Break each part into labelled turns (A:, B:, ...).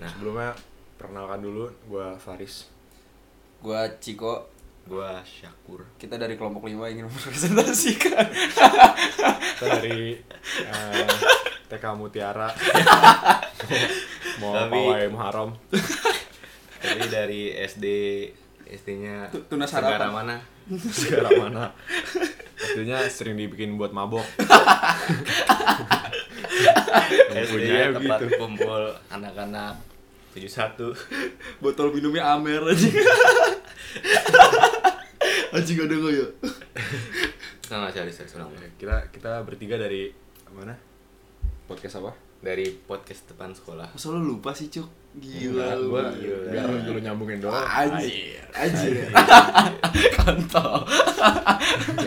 A: Nah,
B: sebelumnya perkenalkan dulu gue Faris
C: Gua Ciko,
A: Gua Syakur.
C: kita dari kelompok 5 ingin mempresentasikan
B: kita dari eh, TK Mutiara mau
A: Tapi-
B: pawai Muharram
A: Tapi dari SD SD-nya
C: Tu- Tunas
A: negara
C: Harapan.
A: mana?
B: segala mana Pastinya sering dibikin buat mabok
A: SD-nya
B: Bunyinya
A: tempat
B: gitu.
A: kumpul anak-anak 71.
C: botol minumnya Amer aja. Anjing ada enggak ya?
A: Kita nggak cari saya seorang
B: Ya, kita kita bertiga dari mana podcast apa
A: dari podcast depan sekolah.
C: Masa lu lupa sih, Cuk? Gila
B: Enggak,
C: lu.
B: gua Iya,
A: gila.
B: biar lu nyambungin doang
C: Anjir, anjir. Kontol.
B: Iya,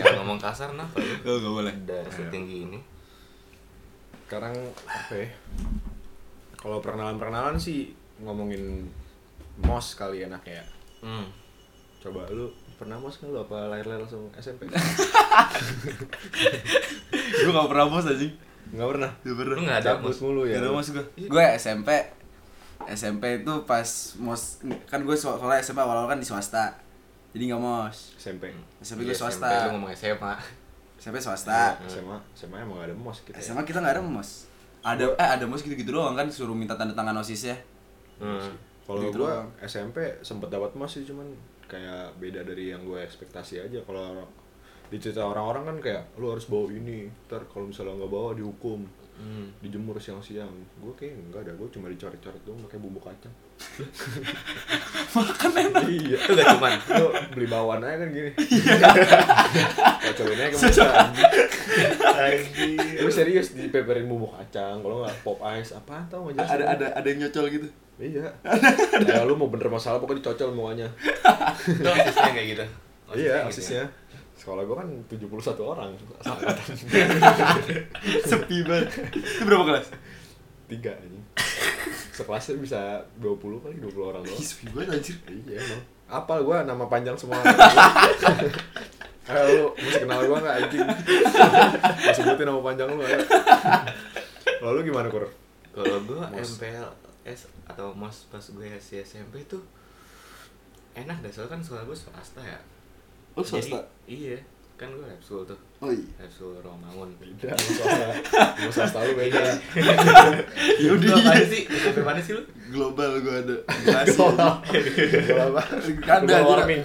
A: Jangan Ya, ngomong kasar kenapa lu?
C: Oh, enggak boleh.
A: Udah setinggi ini.
B: sekarang apa ya kalau perkenalan perkenalan sih ngomongin mos kali enak ya
A: Hmm.
B: coba lu pernah mos nggak lu apa lahir lahir langsung SMP
C: Gua enggak pernah bos anjing.
B: nggak pernah
C: Enggak
A: Lu
C: pernah.
A: nggak ada
B: Cabut
A: mus.
B: mulu ya
C: Gak ada
B: lu.
C: mas gue Gue SMP SMP itu pas mos Kan gue soalnya SMP awal-awal kan di swasta Jadi gak mos
B: SMP
C: SMP gue
A: Iya,
C: swasta
A: SMP, Lu ngomong SMA.
C: SMP swasta
B: SMA SMA emang gak ada mos kita ya?
C: SMA kita gak ada mos ada eh ada mos gitu-gitu doang kan suruh minta tanda tangan osis ya
A: Hmm.
B: kalau
C: Gitu
B: gua
C: doang.
B: SMP sempet dapat mos sih cuman kayak beda dari yang gue ekspektasi aja kalau dicerita orang-orang kan kayak lu harus bawa ini ntar kalau misalnya nggak bawa dihukum
A: Hmm.
B: dijemur siang-siang gue kayak enggak ada gue cuma dicoret-coret doang pakai bumbu kacang
C: makan enak
B: iya
A: Itu gak Hmm. cuman.
B: lu beli bawaan aja kan gini kocokin aja ke muka anjing. lu serius dipeperin bumbu kacang kalau nggak pop ice apa tau nggak jelas
C: ada ada ada yang nyocol gitu
B: iya kayak lu mau bener masalah pokoknya dicocol mukanya
A: Itu asisnya kayak gitu. gitu ya?
B: iya asisnya sekolah gua kan 71 orang angkatan
C: sepi banget itu berapa kelas
B: tiga anjing sekelasnya bisa 20 kali 20 orang doang
C: Ih, sepi banget anjir
B: Iya emang. Apal gua nama panjang semua. Ayo lu mesti kenal gua enggak anjing. Gua sebutin nama panjang lu ayo. Lalu gimana, Kur?
A: Kalau Eh, gua
B: Mos.
A: MPLS atau mos pas gue si SMP itu enak deh soalnya kan sekolah gue swasta ya.
C: oh swasta
A: Jadi, iya, kan gue lab school tuh.
C: oh iya
A: Lab school Romangun.
B: Beda lu soalnya. Gua swasta lu beda.
C: Yaudah,
A: Lu apaan
C: iya.
A: sih? SMP mana sih lu?
C: global gue ada
B: Soalnya. Gua apa?
C: Ada,
B: Global
C: ada.
B: warming.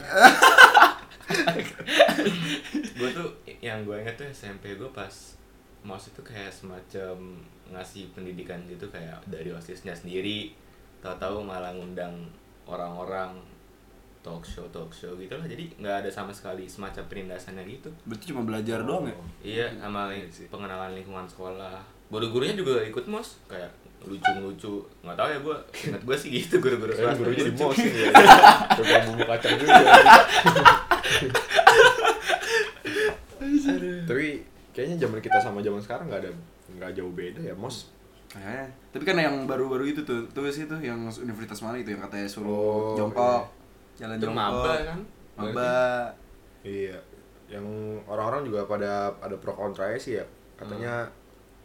A: Gue tuh yang gue inget tuh SMP gue pas mos itu kayak semacam ngasih pendidikan gitu kayak dari osisnya sendiri tahu-tahu malah ngundang orang-orang talk show talk show gitu lah jadi nggak ada sama sekali semacam perindasannya gitu
C: berarti cuma
B: Oh.
C: belajar doang ya
A: Iya, sama li- pengenalan lingkungan sekolah. Guru-gurunya juga ikut mos, kayak lucu-lucu. Nggak tahu ya gue, ingat gue sih gitu guru-guru
B: Kayaknya
A: swasta.
B: gurunya di
A: Lucu.
B: mos ini ya. Coba bumbu kacang ya. juga. Tapi kayaknya zaman kita sama zaman sekarang nggak ada nggak jauh beda ya, Mos.
C: Kayaknya. Tapi kan yang baru-baru itu tuh, tuh sih itu yang universitas mana itu yang katanya
B: Oh,
C: suruh jongkok, jalan
A: Itu
C: jongkok.
A: maba kan?
C: Maba.
B: Iya, yang orang-orang juga pada ada pro kontra sih ya. Katanya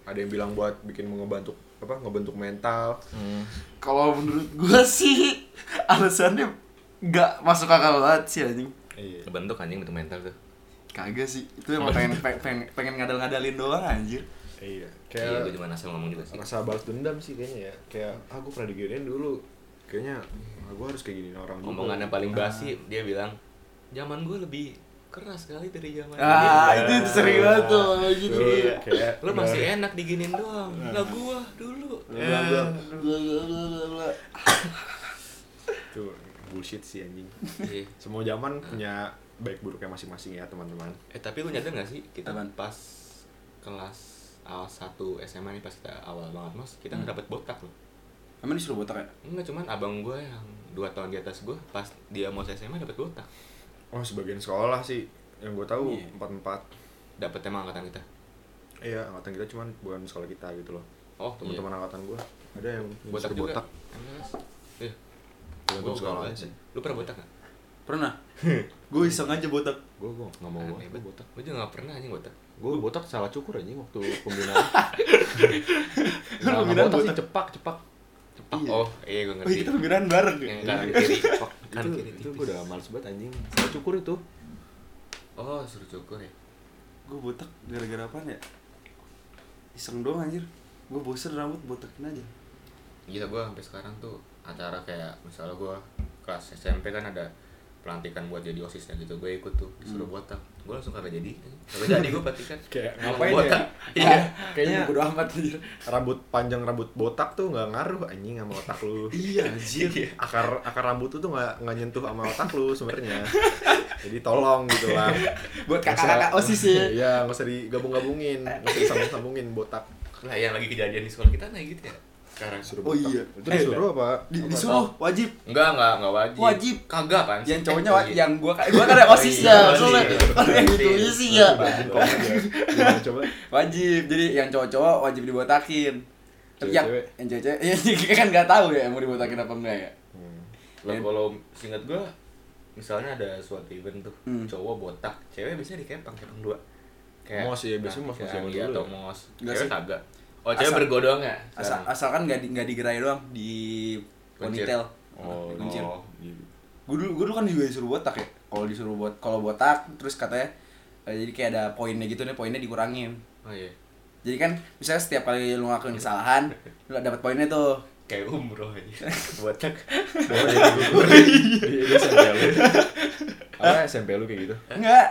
B: ada yang bilang buat bikin ngebantu apa ngebentuk mental.
C: Kalau menurut gua sih alasannya nggak masuk akal banget sih anjing.
B: Iya.
A: Kebentuk anjing bentuk mental tuh.
C: Kagak sih. Itu emang pengen pe- pengen, pengen ngadal-ngadalin doang anjir.
B: Iya.
A: Iya, gue
B: Kayak
A: cuma asal ngomong juga sih.
B: rasa balas dendam sih kayaknya ya. Kayak aku pernah diginiin dulu. Kayaknya aku harus kayak gini orang juga.
A: Omongannya paling basi, dia bilang, zaman gue lebih keras kali dari zaman
C: Ah,
A: ini."
C: itu sering banget tuh kayak gitu.
B: Tuh, Iya. kayak
A: Lu masih enak diginin doang. Lah gua dulu.
B: Bla, bla.
C: Bla, bla, bla, bla, bla.
B: Tuh, bullshit sih anjing.
A: Iya.
B: Semua zaman punya baik buruknya masing-masing ya, teman-teman.
A: Eh tapi lu nyadar gak sih kita
C: Apaan?
A: pas kelas awal 1 SMA nih pas kita awal banget mos kita nggak dapet botak loh
C: Emang disuruh botak ya?
A: Enggak cuman abang gue yang dua tahun di atas gue pas dia mos SMA dapet botak
B: Oh, sebagian sekolah sih yang gue tahu
C: Iya.
B: empat-empat.
A: dapet emang angkatan kita
B: Iya, angkatan kita cuman bukan sekolah kita gitu loh.
A: oh
B: teman-teman angkatan gue ada yang
A: iya. botak
B: disuruh
A: juga
B: botak
A: Enggak, Iya.
B: tergantung
A: Gua-
B: sekolahnya
A: gua- gua-
B: sih.
A: lu pernah botak gak?
C: Pernah. Gue iseng aja botak.
B: gue gue nggak mau gue
A: Aneh
B: botak
A: gue juga gak pernah anjing botak
B: gue botak salah cukur aja waktu pembinaan
C: Lu
B: Nggak- nggak
C: pembinaan
B: botak sih
C: botak?
B: cepak cepak
A: Pak,
C: Iya.
A: oh iya gue
D: Oh,
A: ngerti.
D: iya, kita pemikiran bareng ya.
A: Yang kanan kiri. Pak, kanan
B: Iya. itu,
A: kiri
B: itu
A: tipis.
B: gue udah males banget anjing saya cukur itu
A: Oh, suruh cukur ya.
D: Gue botak gara-gara apaan ya? Iseng doang anjir. Gue bosen rambut botakin aja.
A: Gila gue sampai sekarang tuh acara kayak misalnya gue kelas SMP kan ada pelantikan buat jadi osisnya gitu gue ikut tuh disuruh botak gue langsung kagak jadi kagak jadi gue pelantikan
B: Kayak
A: Emang
B: ngapain ya?
A: botak. iya
B: kayaknya
C: bodo amat anjir.
B: rambut panjang rambut botak tuh nggak ngaruh anjing sama otak lu
D: Iya anjir.
B: akar akar rambut tuh tuh nggak nggak nyentuh sama otak lu sebenarnya jadi tolong gitu lah
C: Buat
B: Nggak usah-
C: kakak-kakak OSIS ya.
B: iya nggak usah digabung-gabungin nggak usah disambung-sambungin botak
A: lah yang lagi kejadian di sekolah kita nah gitu ya sekarang
B: suruh
D: Oh,
B: botak.
D: iya.
B: itu disuruh apa Oh,
D: Di,
C: Oh.
D: disuruh wajib.
A: enggak enggak enggak wajib
C: Wajib.
A: kagak kan
C: Yang cowoknya wa- yang gua gua kan ada
A: Oh,
C: OSISnya.
A: iya.
C: Soalnya
A: Iya.
C: kalau Kan yang
A: Iya.
C: ditulis sih ya.
B: Wajib kok, ya. Gimana, coba
C: Wajib. Jadi yang cowok-cowok wajib dibotakin. Tapi yang
B: Cewek-cewek.
C: yang cewek-cewek ya, kita kan nggak tahu ya mau dibotakin apa enggak ya.
B: Hmm.
A: Lah kalau singkat gua misalnya ada suatu event tuh,
C: Hmm.
A: cowok botak, cewek biasanya dikepang, kepang dua.
B: Mos ya, biasanya mos
A: kayak
B: sama
A: Andi
B: dulu
A: atau
B: ya.
A: mos.
C: Enggak
A: cewek
C: sih.
A: kagak. Oh, cewek
C: Asal-
A: bergodong ya?
C: Asal, asalkan nggak di, nggak digerai doang di
A: Kuncir.
C: ponytail.
B: oh,
C: Kuncir.
B: oh, iya.
C: Gue dulu, gua dulu kan juga disuruh botak ya. Kalau disuruh buat kalau botak terus katanya eh, jadi kayak ada poinnya gitu nih poinnya dikurangin.
A: Oh iya.
C: Jadi kan misalnya setiap kali lu ngelakuin kesalahan, lu dapat poinnya tuh.
A: Kayak umroh aja. botak.
B: Bawa dia dulu. Di- di SMP lu apa SMP lu kayak gitu
C: Enggak,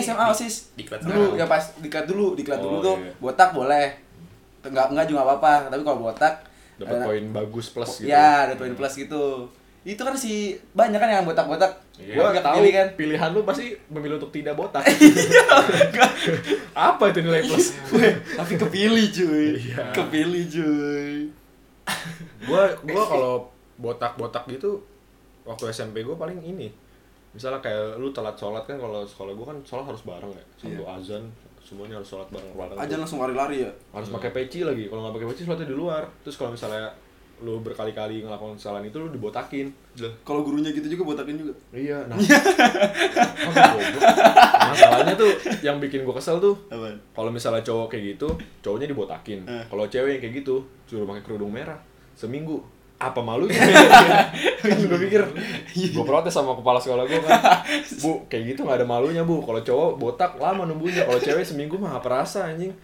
A: Ini
C: SMA
A: di-
C: OSIS.
A: diklat
C: dulu
A: sekarang.
C: ya pas diklat dulu, diklat dulu
B: Oh,
C: tuh
B: iya.
C: botak boleh. Enggak enggak juga apa-apa, tapi kalau botak
B: dapat
C: eh,
B: poin bagus plus gitu
C: Ya, ada poin plus gitu. Itu kan si banyak kan yang botak-botak.
A: Iya.
C: Gua
B: nggak
C: enggak pilih kan. Iya,
B: pilihan lu pasti memilih untuk tidak botak apa itu nilai plus
C: Weh, tapi kepilih cuy.
B: Iya.
C: Kepilih cuy.
B: gua gua kalau botak-botak gitu waktu SMP gua paling ini misalnya kayak lu telat sholat kan kalau sekolah gua kan sholat harus bareng ya satu azan semuanya harus sholat bareng bareng
C: Aja Iya. langsung lari-lari ya.
B: harus pakai peci lagi kalau nggak pakai peci sholatnya di luar terus kalau misalnya lu berkali-kali ngelakuin kesalahan itu lu dibotakin
D: Kalau gurunya gitu juga botakin juga.
B: iya nah Aduh, goblok. masalahnya tuh yang bikin gua kesel tuh
D: Apaan?
B: kalau misalnya cowok kayak gitu cowoknya dibotakin
D: Eh.
B: kalau cewek yang kayak gitu suruh pakai kerudung merah seminggu apa malunya kan gue pikir gue protes sama kepala sekolah gue kan bu kayak gitu nggak ada malunya bu kalau cowok botak lama nunggunya kalau cewek seminggu mah apa rasa anjing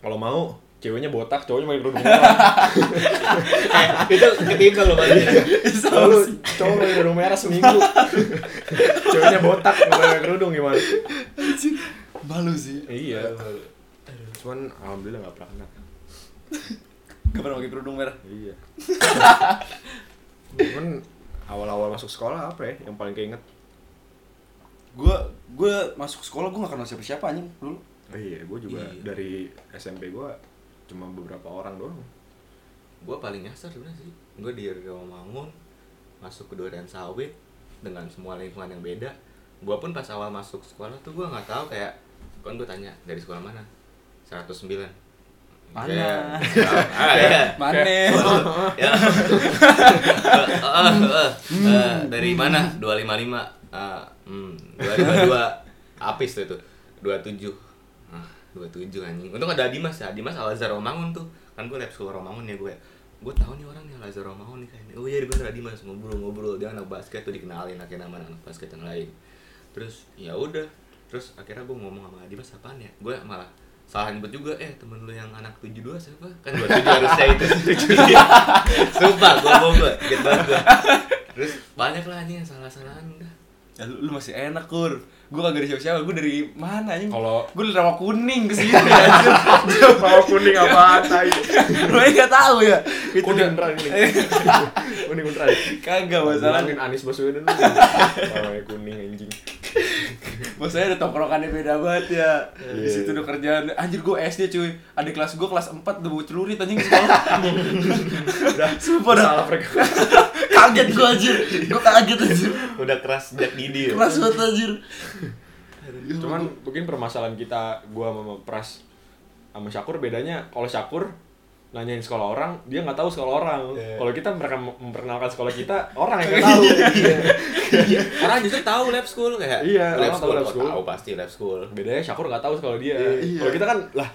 B: kalau mau ceweknya botak cowoknya pakai kerudung merah
A: Itu ketiga loh tadi.
B: lalu cowok pakai kerudung merah seminggu ceweknya botak nggak pakai kerudung gimana
D: Malu sih.
B: iya cuman alhamdulillah nggak pernah kena
C: Gak pernah pakai kerudung merah.
B: Iya. Cuman awal-awal masuk sekolah apa ya yang paling keinget?
C: Gua gua masuk sekolah gua gak kenal siapa-siapa anjing dulu.
B: Oh iya, gue juga dari SMP gue cuma beberapa orang doang.
A: gua paling nyasar sebenarnya sih. Gua di Rawamangun masuk ke Duren Sawit dengan semua lingkungan yang beda. Gua pun pas awal masuk sekolah tuh gua nggak tahu kayak kan gua tanya dari sekolah mana? 109.
C: Mana?
A: Ya, ah, ya.
C: Mana?
A: ya. Eh, eh, eh, eh, dari mana? 255. Ah, hmm, 222. Apis tuh itu. 27. Ah, 27 anjing. Untung ada Dimas ya. Dimas Alazar Romangun tuh. Kan gue lab sekolah Romangun ya gue. Gue tahu nih orang nih Alazar Romangun nih kayaknya. Oh iya bener Dimas ngobrol-ngobrol dia anak basket tuh dikenalin akhirnya nama anak basket yang lain. Terus ya udah. Terus akhirnya gue ngomong sama Dimas apaan ya? Gue malah salah nyebut juga eh temen lu yang anak 72 siapa kan 27 harusnya itu Iya. 72 Sumpah, gue gue Get banget gue Terus banyak lah anjing yang salah-salahan udah
C: Ya, lu, lu masih enak kur gue kagak dari siapa-siapa gue dari mana anjing
B: Kalau-
C: gue dari rawa kuning ke sini anjing
B: Mau kuning apa tai?
C: lu aja nggak tahu ya Itu
B: Kuning
C: dia.
B: beneran kuning. kuning beneran.
C: kagak masalah
B: Bilangin Anies Baswedan lu. Warnanya kuning anjing.
C: maksudnya ada tongkrongannya beda banget ya di
B: Iya.
C: situ udah kerjaan anjir gue SD cuy adik kelas gue kelas 4 udah bawa celurit anjing ke sekolah
B: Udah
C: Sumpah dah.
B: salah mereka.
C: kaget gue anjir gue kaget anjir
A: Udah keras sejak
B: Iya,
A: Didi ya
C: keras banget anjir
B: Cuman mungkin permasalahan kita gua sama Pras sama Syakur bedanya kalau Syakur nanyain sekolah orang, dia nggak tahu sekolah orang.
A: Iya.
B: Kalau kita mereka mem- memperkenalkan sekolah kita, orang yang nggak tahu.
A: Iya. Orang justru tahu lab school kayak
B: Iya,
A: lab
B: orang tahu
A: school,
B: lab
A: oh,
B: school.
A: tahu pasti lab school
B: Bedanya Syakur nggak tahu sekolah dia.
D: Iya.
B: Kalau kita kan lah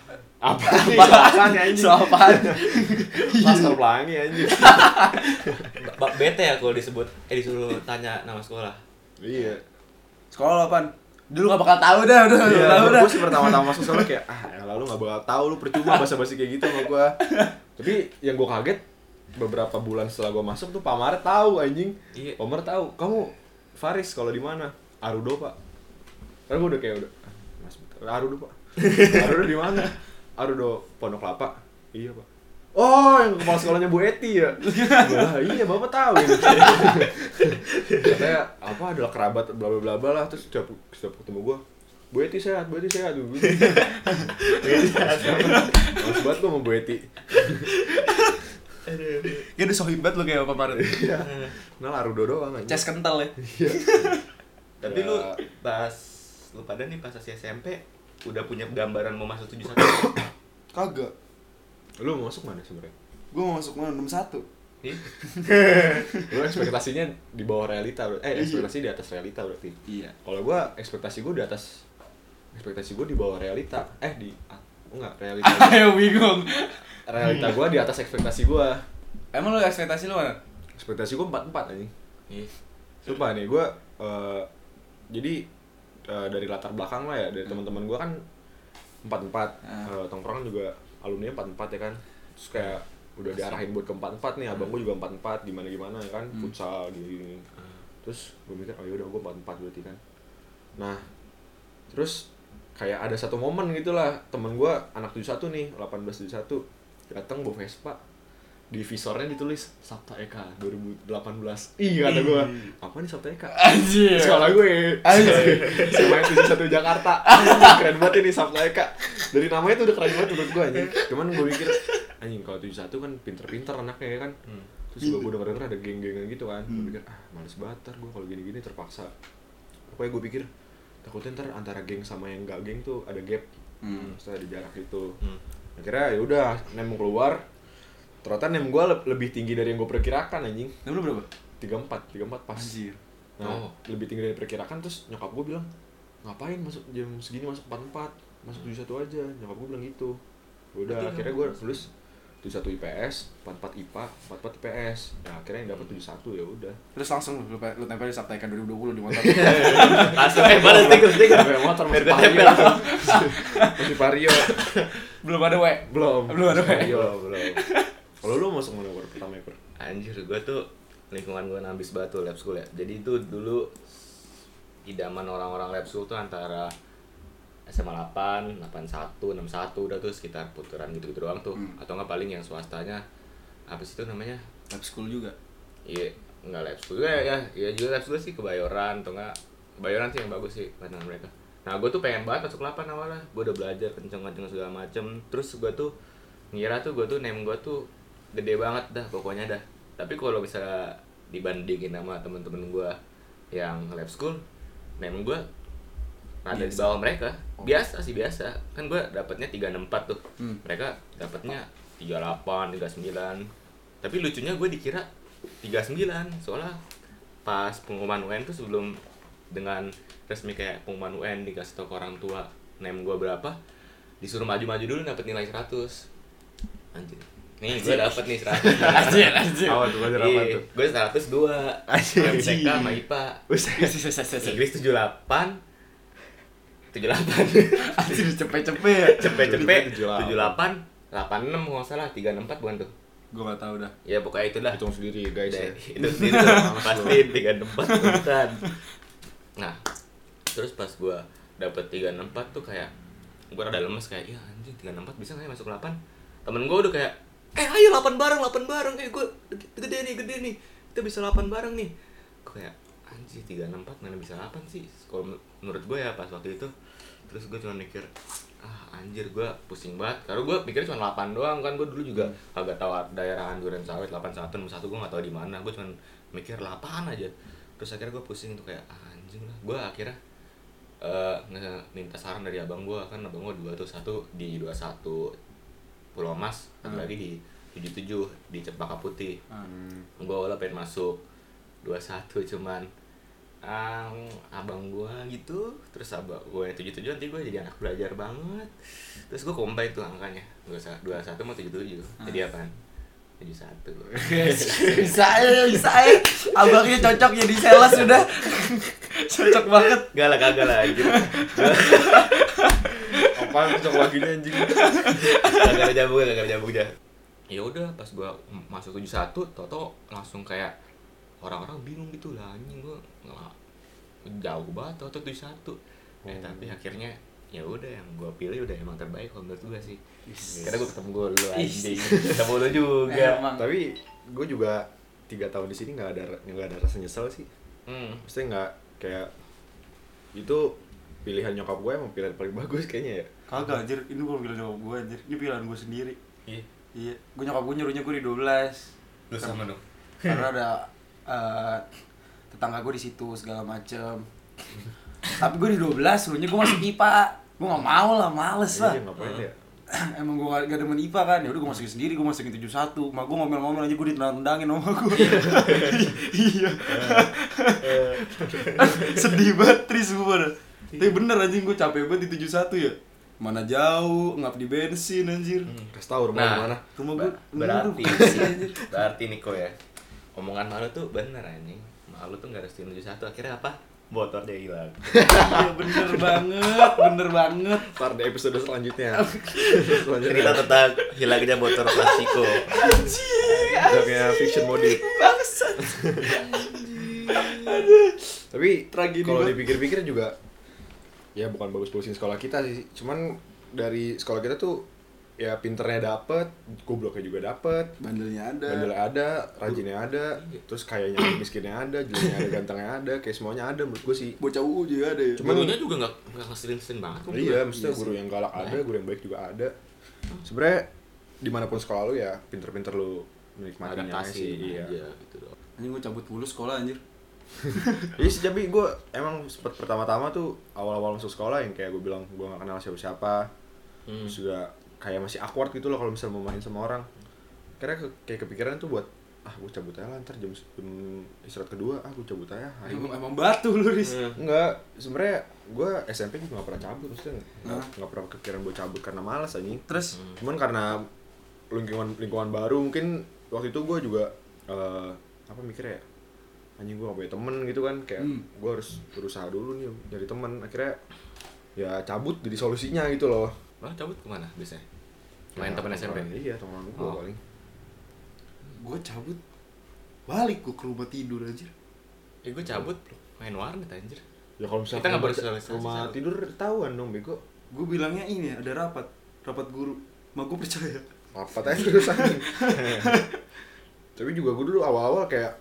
B: Apa nih? Apaan ya anjing?
C: Soal apaan?
B: Master pelangi anjing.
A: Ba- bete ya kalau disebut eh disuruh tanya nama sekolah
B: Iya.
C: Sekolah lo apaan? Dulu gak bakal tahu dah, udah, udah, tahu
B: Iya,
C: dah.
B: gue sih pertama-tama masuk sekolah kayak ah, ya lalu nggak bakal tahu lu percuma basa-basi kayak gitu sama gue. Tapi yang gue kaget beberapa bulan setelah gue masuk tuh Pak Mar tahu anjing.
A: Iya.
B: Pak Mar tahu. Kamu Faris kalau di mana? Arudo pak. Karena gue udah kayak udah. "Ah, Mas bentar. Arudo pak. Arudo di mana? Arudo Pondok Kelapa. Iya pak. Oh, yang kepala sekolahnya Bu Eti ya? Wah, iya, bapak tahu ya katanya apa adalah kerabat bla bla bla bla lah terus setiap setiap ketemu gua Bu Eti sehat, Bu Eti sehat Bu Eti sehat Males banget gua sama Bu Eti
C: Kayak udah sohib banget lo kayak apa kemarin.
B: Nah Arudo doang aja
C: Cas kental ya.
A: tapi
B: Ya.
A: lu pas lu pada nih pas masih SMP udah punya gambaran mau masuk tujuh satu
D: Kagak.
B: Lu mau masuk mana sebenarnya?
D: Gue mau masuk mana? Nomor satu.
A: Iya.
B: Lu ekspektasinya di bawah realita berarti- Eh ekspektasi di atas realita berarti
C: Iya.
B: Kalau gua ekspektasi gua di atas Ekspektasi gua di bawah realita Eh di ah, Enggak, realita
C: Ayo bingung.
B: Realita gua di atas ekspektasi gua
C: Emang lo ekspektasi lo mana?
B: ekspektasi gue empat empat aja sumpah nih gue jadi eh, dari latar belakang lah ya dari teman-teman gue kan empat empat
C: Ah.
B: tongkrongan juga alumni empat empat ya kan terus kayak udah diarahin buat ke empat empat nih abang gue juga empat empat gimana gimana ya kan futsal gini gini terus gue mikir oh yaudah gue empat empat berarti kan nah terus kayak ada satu momen gitulah temen gue anak 71 nih 1871 datang bawa Vespa di visornya ditulis Sabta Eka 2018 ih kata gue apa nih Sabta Eka
C: Anjir.
B: sekolah gue
C: Anjir.
B: SMA 71 Jakarta keren banget ini Sabta Eka dari namanya tuh udah keren banget menurut gue anjing cuman gue mikir anjing kalau 71 kan pinter-pinter anaknya ya kan
A: Hmm.
B: terus juga gue denger-denger ada geng-gengan gitu kan gue mikir ah males banget ntar gue kalau gini-gini terpaksa pokoknya gue pikir takutnya ntar antara geng sama yang gak geng tuh ada gap Terus ada jarak gitu
A: Hmm.
B: akhirnya ya udah nem keluar ternyata nem gue lebih tinggi dari yang gue perkirakan anjing
C: Nah, lo berapa?
B: 34, 34 pas
A: Oh.
B: Nah, lebih tinggi dari perkirakan terus nyokap gue bilang ngapain masuk jam segini masuk 44 masuk 71 aja nyokap gue bilang gitu udah
A: Berarti
B: akhirnya
A: lu-
B: gue lulus 71 IPS 44 IPA 44 IPS ya akhirnya yang dapat 71 ya udah
C: Terus langsung lo, lo tempel di Sabta Eka 2020 di motor.
A: langsung eh balas tikus tikus
B: Sampai motor masih
A: Biar
B: pario
A: ketempel.
B: masih pario
C: Belum ada we.
B: belum
C: Belum ada,
B: Masih
C: Pak.
B: pario belum kalau lu masuk mana Pur? pertama ya Pur?
A: anjir gue tuh lingkungan gue nambis batu lab school ya jadi itu dulu idaman orang-orang lab school tuh antara SMA 8, 81, 61 udah tuh sekitar putaran gitu-gitu doang tuh atau nggak paling yang swastanya apa sih itu namanya
C: Lab school juga.
A: Iya, nggak lab school juga ya, ya juga lab school sih kebayoran atau nggak kebayoran sih yang bagus sih pandangan mereka. Nah, gue tuh pengen banget masuk 8 awalnya. Gue udah belajar kenceng-kenceng segala macem. Terus gue tuh ngira tuh gue tuh name gue tuh gede banget dah pokoknya dah. Tapi kalau misalnya dibandingin sama temen-temen gue yang lab school, name gue ada di bawah mereka. Biasa sih biasa. Kan gue dapatnya 364 tuh. Mereka dapatnya 38, 39 tapi lucunya gue dikira 39 soalnya pas pengumuman UN tuh sebelum dengan resmi kayak pengumuman UN dikasih tau ke orang tua name gue berapa disuruh maju-maju dulu dapet nilai 100 anjir nih gue dapet nih Iya, 100
C: Anjir, anjir.
B: Apa tuh, belajar apa tuh?
A: gue 102
B: Anjir.
A: MTK sama IPA
B: Buset.
A: Inggris 78 78
C: Anjir cepet-cepet ya.
A: cepet-cepet
B: 78.
A: 78 86 kalau nggak salah 34 bukan tuh
C: Gue gak tau dah.
A: ya pokoknya itulah
B: hitung sendiri guys
A: Udah,
B: ya.
A: itu itu pasti tiga tempat bukan nah terus pas gua dapet tiga tempat tuh kayak gua rada lemes kayak ya anjing tiga tempat bisa nggak ya masuk delapan temen gua udah kayak eh ayo delapan bareng delapan bareng eh gua gede nih gede nih kita bisa delapan bareng nih gua kayak anjing tiga tempat mana bisa delapan sih kalau men- menurut gua ya pas waktu itu terus gua cuma mikir ah anjir gua pusing banget karena gua pikir cuma 8 doang kan gua dulu juga agak tahu daerah Duren Sawit 81 61 gua nggak tahu di mana gua cuma mikir 8 aja terus akhirnya gua pusing tuh kayak ah, anjing lah gua akhirnya eh nge- minta saran dari abang gua kan abang gua dua tuh satu di 21 Pulau Mas satu lagi di 77 di Cempaka Putih
C: Hmm.
A: gue awalnya pengen masuk 21 cuman ang abang gua gitu terus abang gua yang tujuh tujuh nanti gua jadi anak belajar banget terus gua combine tuh angkanya dua dua satu mau tujuh tujuh jadi apaan tujuh satu
C: bisa ya, bisa ya. Abangnya cocok jadi sales sudah. cocok banget.
A: gak lah kagak lah anjir
B: Apaan cocok laginya anjing?
A: gak ada jamu gak ada jamu aja ya udah pas gua m- masuk tujuh satu toto langsung kayak orang-orang bingung gitu lah anjing gua nggak jauh banget toto tujuh satu eh tapi akhirnya ya udah yang gua pilih udah emang terbaik kalau menurut gua sih karena gua ketemu gua lu anjing Iya. ketemu lu juga
C: Emang.
B: Tapi gue juga tiga tahun di sini nggak ada nggak ada rasa nyesel sih.
A: hmm.
B: Maksudnya nggak kayak itu pilihan nyokap gue emang pilihan paling bagus kayaknya ya.
D: Kagak anjir, ini bukan pilihan nyokap gue anjir Ini pilihan gue sendiri
A: Ih,
D: Iya, gue nyokap gue nyuruhnya gue di 12
A: lu sama dong
C: Karena ada
D: Eh, Tetangga gue di situ segala macem Tapi gue di 12, suruhnya gue masuk IPA Gue gak mau lah, males lah
B: Iya ngapain ya?
D: Hmm. Emang gue gak, gak demen IPA kan, yaudah gue masukin sendiri, gue masukin 71 Ma gue ngomel-ngomel aja gue ditendang-tendangin sama gue Iya Sedih banget, tris gue pada Tapi bener anjing gue capek banget di 71 ya Mana jauh, ngap di bensin anjir
B: Kasih tahu rumah
A: Nah.
B: lu mana?
D: Rumah gue
A: Ba- berarti berarti Niko ya omongan malu tuh bener anjing malu tuh nggak harus tim satu akhirnya apa motor dia hilang
D: Iya bener banget, bener banget.
B: Ntar di episode selanjutnya.
A: cerita
B: selanjutnya
A: tentang hilangnya motor plastiko
B: joknya fiction modif.
D: Bangsat.
B: Tapi
D: Tragedi
B: kalau
D: banget.
B: dipikir-pikir juga ya bukan bagus-bagusin sekolah kita sih. Cuman dari sekolah kita tuh ya pinternya dapet, gobloknya juga dapet,
C: bandelnya ada.
B: bandelnya ada, rajinnya ada, terus kayaknya miskinnya ada, jeleknya ada, gantengnya ada, kayak semuanya ada menurut gue sih.
C: Bocah UU juga ada ya.
B: Cuman
A: gurunya juga nggak nggak ngeselin-ngeselin banget kok.
B: iya, maksudnya guru yang galak ada, guru yang baik juga ada. Sebenarnya dimanapun sekolah lu ya pinter-pinter lu menikmatinya
A: adaptasi
B: sih. Iya.
A: aja gitu doang
D: Anjing gue cabut mulu sekolah anjir.
B: Jadi Iya sih, tapi gue emang sempet pertama-tama tuh awal-awal masuk sekolah yang kayak gue bilang gue gak kenal siapa-siapa.
A: Hmm.
B: Terus juga kayak masih awkward gitu loh kalau misalnya mau main sama orang. Karena ke- kayak kepikiran tuh buat ah gue cabut aja lah ntar jam, jam istirahat kedua ah gue cabut aja hari ini."
D: Emang, emang batu lu, Riz.
A: Hmm.
B: Enggak, sebenarnya gue SMP juga gak pernah cabut maksudnya nggak nggak pernah kepikiran buat cabut karena malas anjing. Hmm.
D: Terus
B: Cuman karena lingkungan lingkungan baru mungkin waktu itu gue juga eh, apa mikirnya ya anjing gue gak punya temen gitu kan kayak gue harus berusaha dulu nih nyari temen akhirnya ya cabut jadi solusinya gitu loh
A: Lo cabut kemana biasanya? Ya, Main temen SMP?
B: Tongkrongan- iya teman gue
A: Oh.
B: paling
C: Gue cabut balik gue ke rumah tidur aja.
A: Eh gue cabut main warnet anjir
B: ya kalau misalnya
A: Kita nggak
B: rumah-
A: bersosialisasi
B: rumah
A: satu.
B: tidur tahuan dong bego
D: gue bilangnya ini ya, ada rapat, rapat guru. Ma gue percaya.
B: apa tadi terus anjing. tapi juga gue dulu awal-awal kayak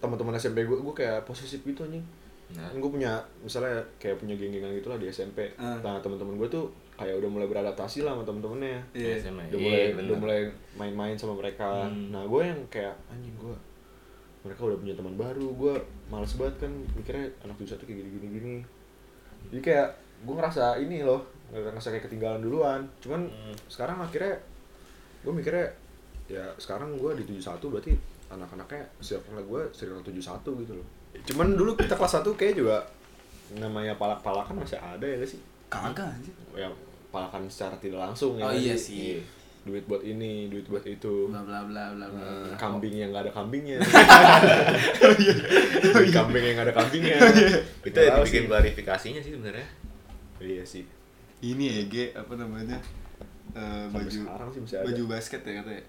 B: teman-teman SMP gue gue kayak posesif gitu anjing
A: Nah,
B: gue punya misalnya kayak punya geng-gengan gitu lah di SMP
D: Ah.
B: nah teman-teman gue tuh kayak udah mulai beradaptasi lah sama temen-temennya
D: Iya.
A: SMA
B: udah mulai
A: Iya
B: udah
A: bener
B: mulai main-main sama mereka
A: Hmm.
B: nah gue yang kayak anjing gue mereka udah punya teman baru gue males banget kan mikirnya anak tujuh satu kayak gini gini gini jadi kayak gue ngerasa ini loh ngerasa kayak ketinggalan duluan cuman
A: Hmm.
B: sekarang akhirnya gue mikirnya ya sekarang gue di 71 berarti anak-anaknya circle gue circle 71 gitu loh cuman dulu kita kelas 1 kayak juga namanya palak-palakan masih ada ya gak sih
D: Kagak anjir.
B: ya palakan secara tidak langsung ya
C: Oh
B: nggak
C: iya sih.
B: duit buat ini duit buat itu
C: Bla bla bla bla bla.
B: Eh,
C: bla.
B: kambing yang nggak ada kambingnya Duit kambing yang nggak ada kambingnya
A: Itu yang
B: Nggak tahu
A: dibikin
B: sih.
A: klarifikasinya sih sebenarnya
B: iya sih
D: Ini EG apa namanya? Eh,
B: Sampai
D: baju
B: sekarang sih masih ada.
D: baju basket ya katanya.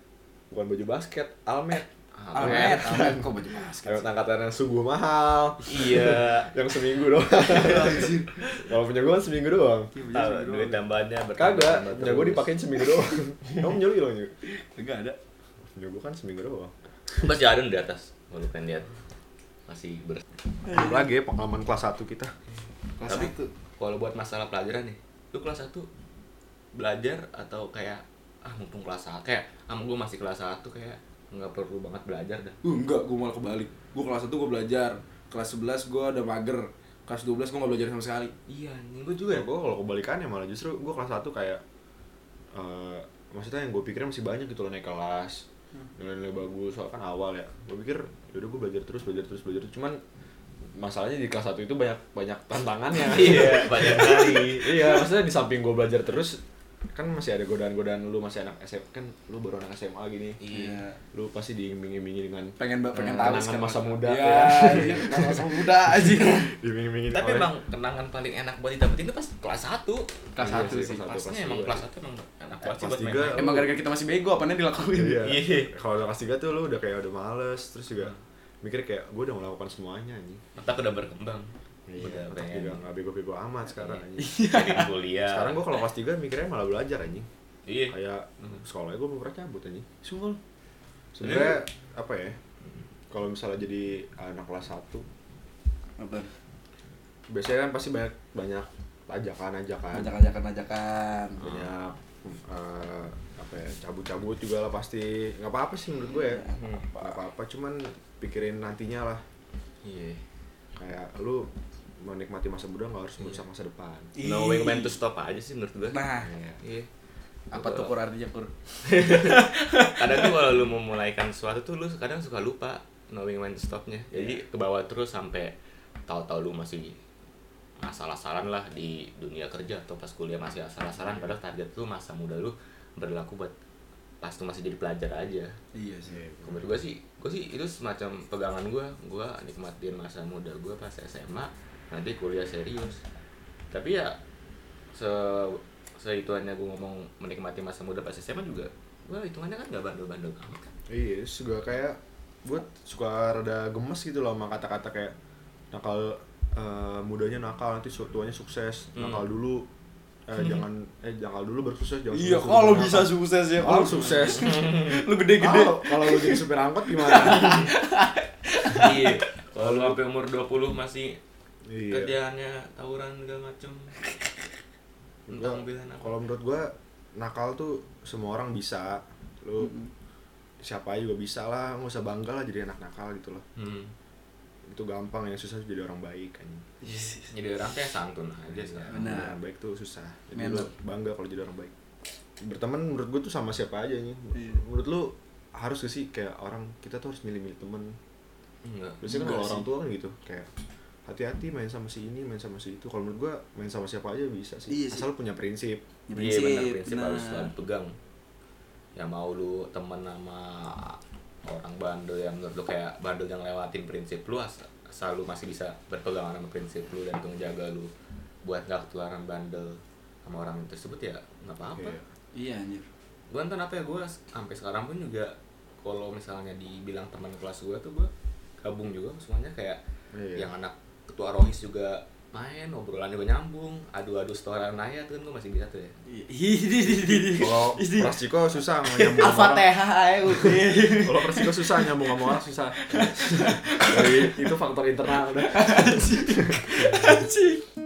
B: bukan baju basket almet
A: Ah,
C: Almet, Almet kok baju basket.
B: Almet angkatan yang sungguh mahal
A: Iya
B: yang seminggu doang
D: Anjir.
B: kalau punya gue kan seminggu doang
D: Iya, baju
A: Tahu,
D: sendiri
A: duit
D: doang.
A: tambahannya bertambah
B: kagak punya gue
A: Iya, terus.
B: dipakein seminggu doang kamu nyuri loh nyu
D: Kagak ada.
B: punya gue kan seminggu doang
A: Masih ada di atas Kalau lu pengen lihat Masih ber
B: lagi ya pengalaman kelas 1 kita
D: Kelas
A: Tapi
D: satu.
A: kalau buat masalah pelajaran nih, lu kelas 1 belajar atau kayak ah mumpung kelas 1 kayak ah gue masih kelas 1 kayak nggak perlu banget belajar dah.
C: Uh, enggak, gue malah kebalik. Gue kelas 1 gue belajar, kelas 11 gue udah mager, kelas 12 gue gak belajar sama sekali.
A: Iya, nih gue juga
B: gue gue ya, kalau kebalikannya malah justru gue kelas 1 kayak eh, maksudnya yang gue pikirnya masih banyak gitu loh naik kelas
C: Hmm.
B: ya nilai-nilai bagus soalnya kan awal ya gue pikir yaudah gue belajar terus belajar terus belajar terus. cuman masalahnya di kelas 1 itu banyak banyak tantangannya
A: Iya, banyak kali.
B: iya maksudnya di samping gue belajar terus kan masih ada godaan-godaan lu masih anak SMA kan lu baru anak SMA gini
A: Iya.
B: lu pasti diimbing-imbingi dengan Hmm,
C: pengen ba- pengen
B: Eh,
C: tahu
B: kenangan
C: sekarang.
B: masa muda
C: Iya, anjir, kenangan masa muda aja.
B: diimbing-imbingin
A: Tapi
B: oleh-
A: emang kenangan paling enak buat didapetin itu pas kelas 1.
C: Kelas
B: Iya
C: satu
B: sih,
C: sih.
B: kelas satu,
A: Pasnya
B: kelas
A: emang
B: dua.
A: kelas 1 emang enak banget sih
B: Kelas
A: buat
B: tiga,
A: main.
C: Emang gara-gara kita masih bego, apanya dilakuin.
B: iya
A: Iya.
B: kalau kelas 3 tuh lu udah kayak udah males terus juga
A: Hmm.
B: mikir kayak gue udah melakukan semuanya anjing
A: Otak udah berkembang. udah
B: Iya, otak
A: pengen Iya.
B: juga nggak bego-bego amat sekarang anjing.
A: jadi kuliah.
B: Sekarang gue kalau kelas 3 mikirnya malah belajar anjing.
A: Iya.
B: Kayak sekolahnya gue mau pernah cabut anjing.
C: Sungguh.
B: Sebenarnya
A: Iya.
B: apa ya? Kalau misalnya jadi anak kelas 1
C: Apa?
B: biasanya kan pasti banyak banyak ajakan-ajakan.
C: Ajakan-ajakan-ajakan.
B: Banyak eh, apa ya? Cabut-cabut juga lah pasti. nggak apa-apa sih menurut gue ya.
A: Hmm.
B: Nggak apa-apa cuman pikirin nantinya lah.
A: Iya.
B: Kayak lu menikmati masa muda nggak harus merusak masa depan.
A: No way when to stop aja sih menurut gue.
C: Nah.
B: Iya.
A: Iya.
C: Apa tuh kur artinya kur?
A: kadang tuh kalau lu memulaikan sesuatu tuh lu kadang suka lupa knowing when to stopnya jadi ke bawah terus sampai tahu-tahu lu masih asal-asalan lah di dunia kerja atau pas kuliah masih asal-asalan padahal target tuh masa muda lu berlaku buat pas tuh masih jadi pelajar aja
C: Iya sih.
A: menurut gue sih gue sih itu semacam pegangan gue gue nikmatin masa muda gue pas SMA nanti kuliah serius tapi ya se seituannya gue ngomong menikmati masa muda pas SMA juga gue hitungannya kan gak bandel-bandel banget kan
B: Iya, terus juga kayak gue suka rada gemes gitu loh sama kata-kata kayak nakal eh, mudanya nakal nanti su- tuanya sukses
A: Hmm.
B: nakal dulu eh jangan eh nakal dulu bersukses jangan
C: Iya,
B: sukses
C: kalau
B: dulu
C: bisa
B: nakal.
C: sukses ya.
B: kalau
C: Kalau
B: sukses
C: lu gede-gede.
B: Kalau- kalau lu jadi supir angkot gimana
A: iya kalau lu sampai umur 20 masih
B: iya
A: kerjaannya tawuran segala macem
B: Gua-
A: tentang mobilan apa
B: kalau menurut gue nakal tuh semua orang bisa lu siapa aja juga bisa lah nggak usah bangga lah jadi anak nakal gitu loh
A: hmm.
B: itu gampang yang susah jadi orang baik kan
A: jadi orang kayak santun aja sekarang
B: Nah,
C: Benar.
B: baik tuh susah. Jadi
C: Benar.
B: lu bangga kalau jadi orang baik. Berteman menurut gue tuh sama siapa aja nih.
C: Iya.
B: Menurut lu harus gak sih kayak orang kita tuh harus milih-milih temen.
A: enggak
B: Biasanya kan
C: Enggak
B: kalau
C: sih.
B: orang tua kan gitu kayak hati-hati main sama si ini, main sama si itu. Kalau menurut gue main sama siapa aja bisa sih.
C: Iya sih.
B: Asal punya prinsip.
A: Iya
C: Ya,
A: benar
C: prinsip, nah.
A: prinsip
C: benar.
A: harus selalu pegang. Ya mau lu temen sama orang bandel yang menurut lu kayak bandel yang lewatin prinsip lu as- asal lu masih bisa berpegangan sama prinsip lu dan itu ngejaga lu buat gak ketularan bandel sama orang tersebut ya nggak apa-apa.
B: Iya.
C: Iya anjir.
A: Gue entah apa ya gue sampai sekarang pun juga kalau misalnya dibilang teman kelas gue tuh gue gabung juga semuanya kayak
B: Iya.
A: yang anak ketua rohis juga main obrolan juga nyambung adu-adu setoran aja tuh kan gue masih bisa tuh ya
C: Iya.
B: Kalau
C: Kalau
B: Prasiko susah mau nyambung sama orang.
C: Al-Fatihah
B: Kalau Prasiko susah nyambung sama orang susah. Jadi, itu faktor internal udah.
C: Anjing.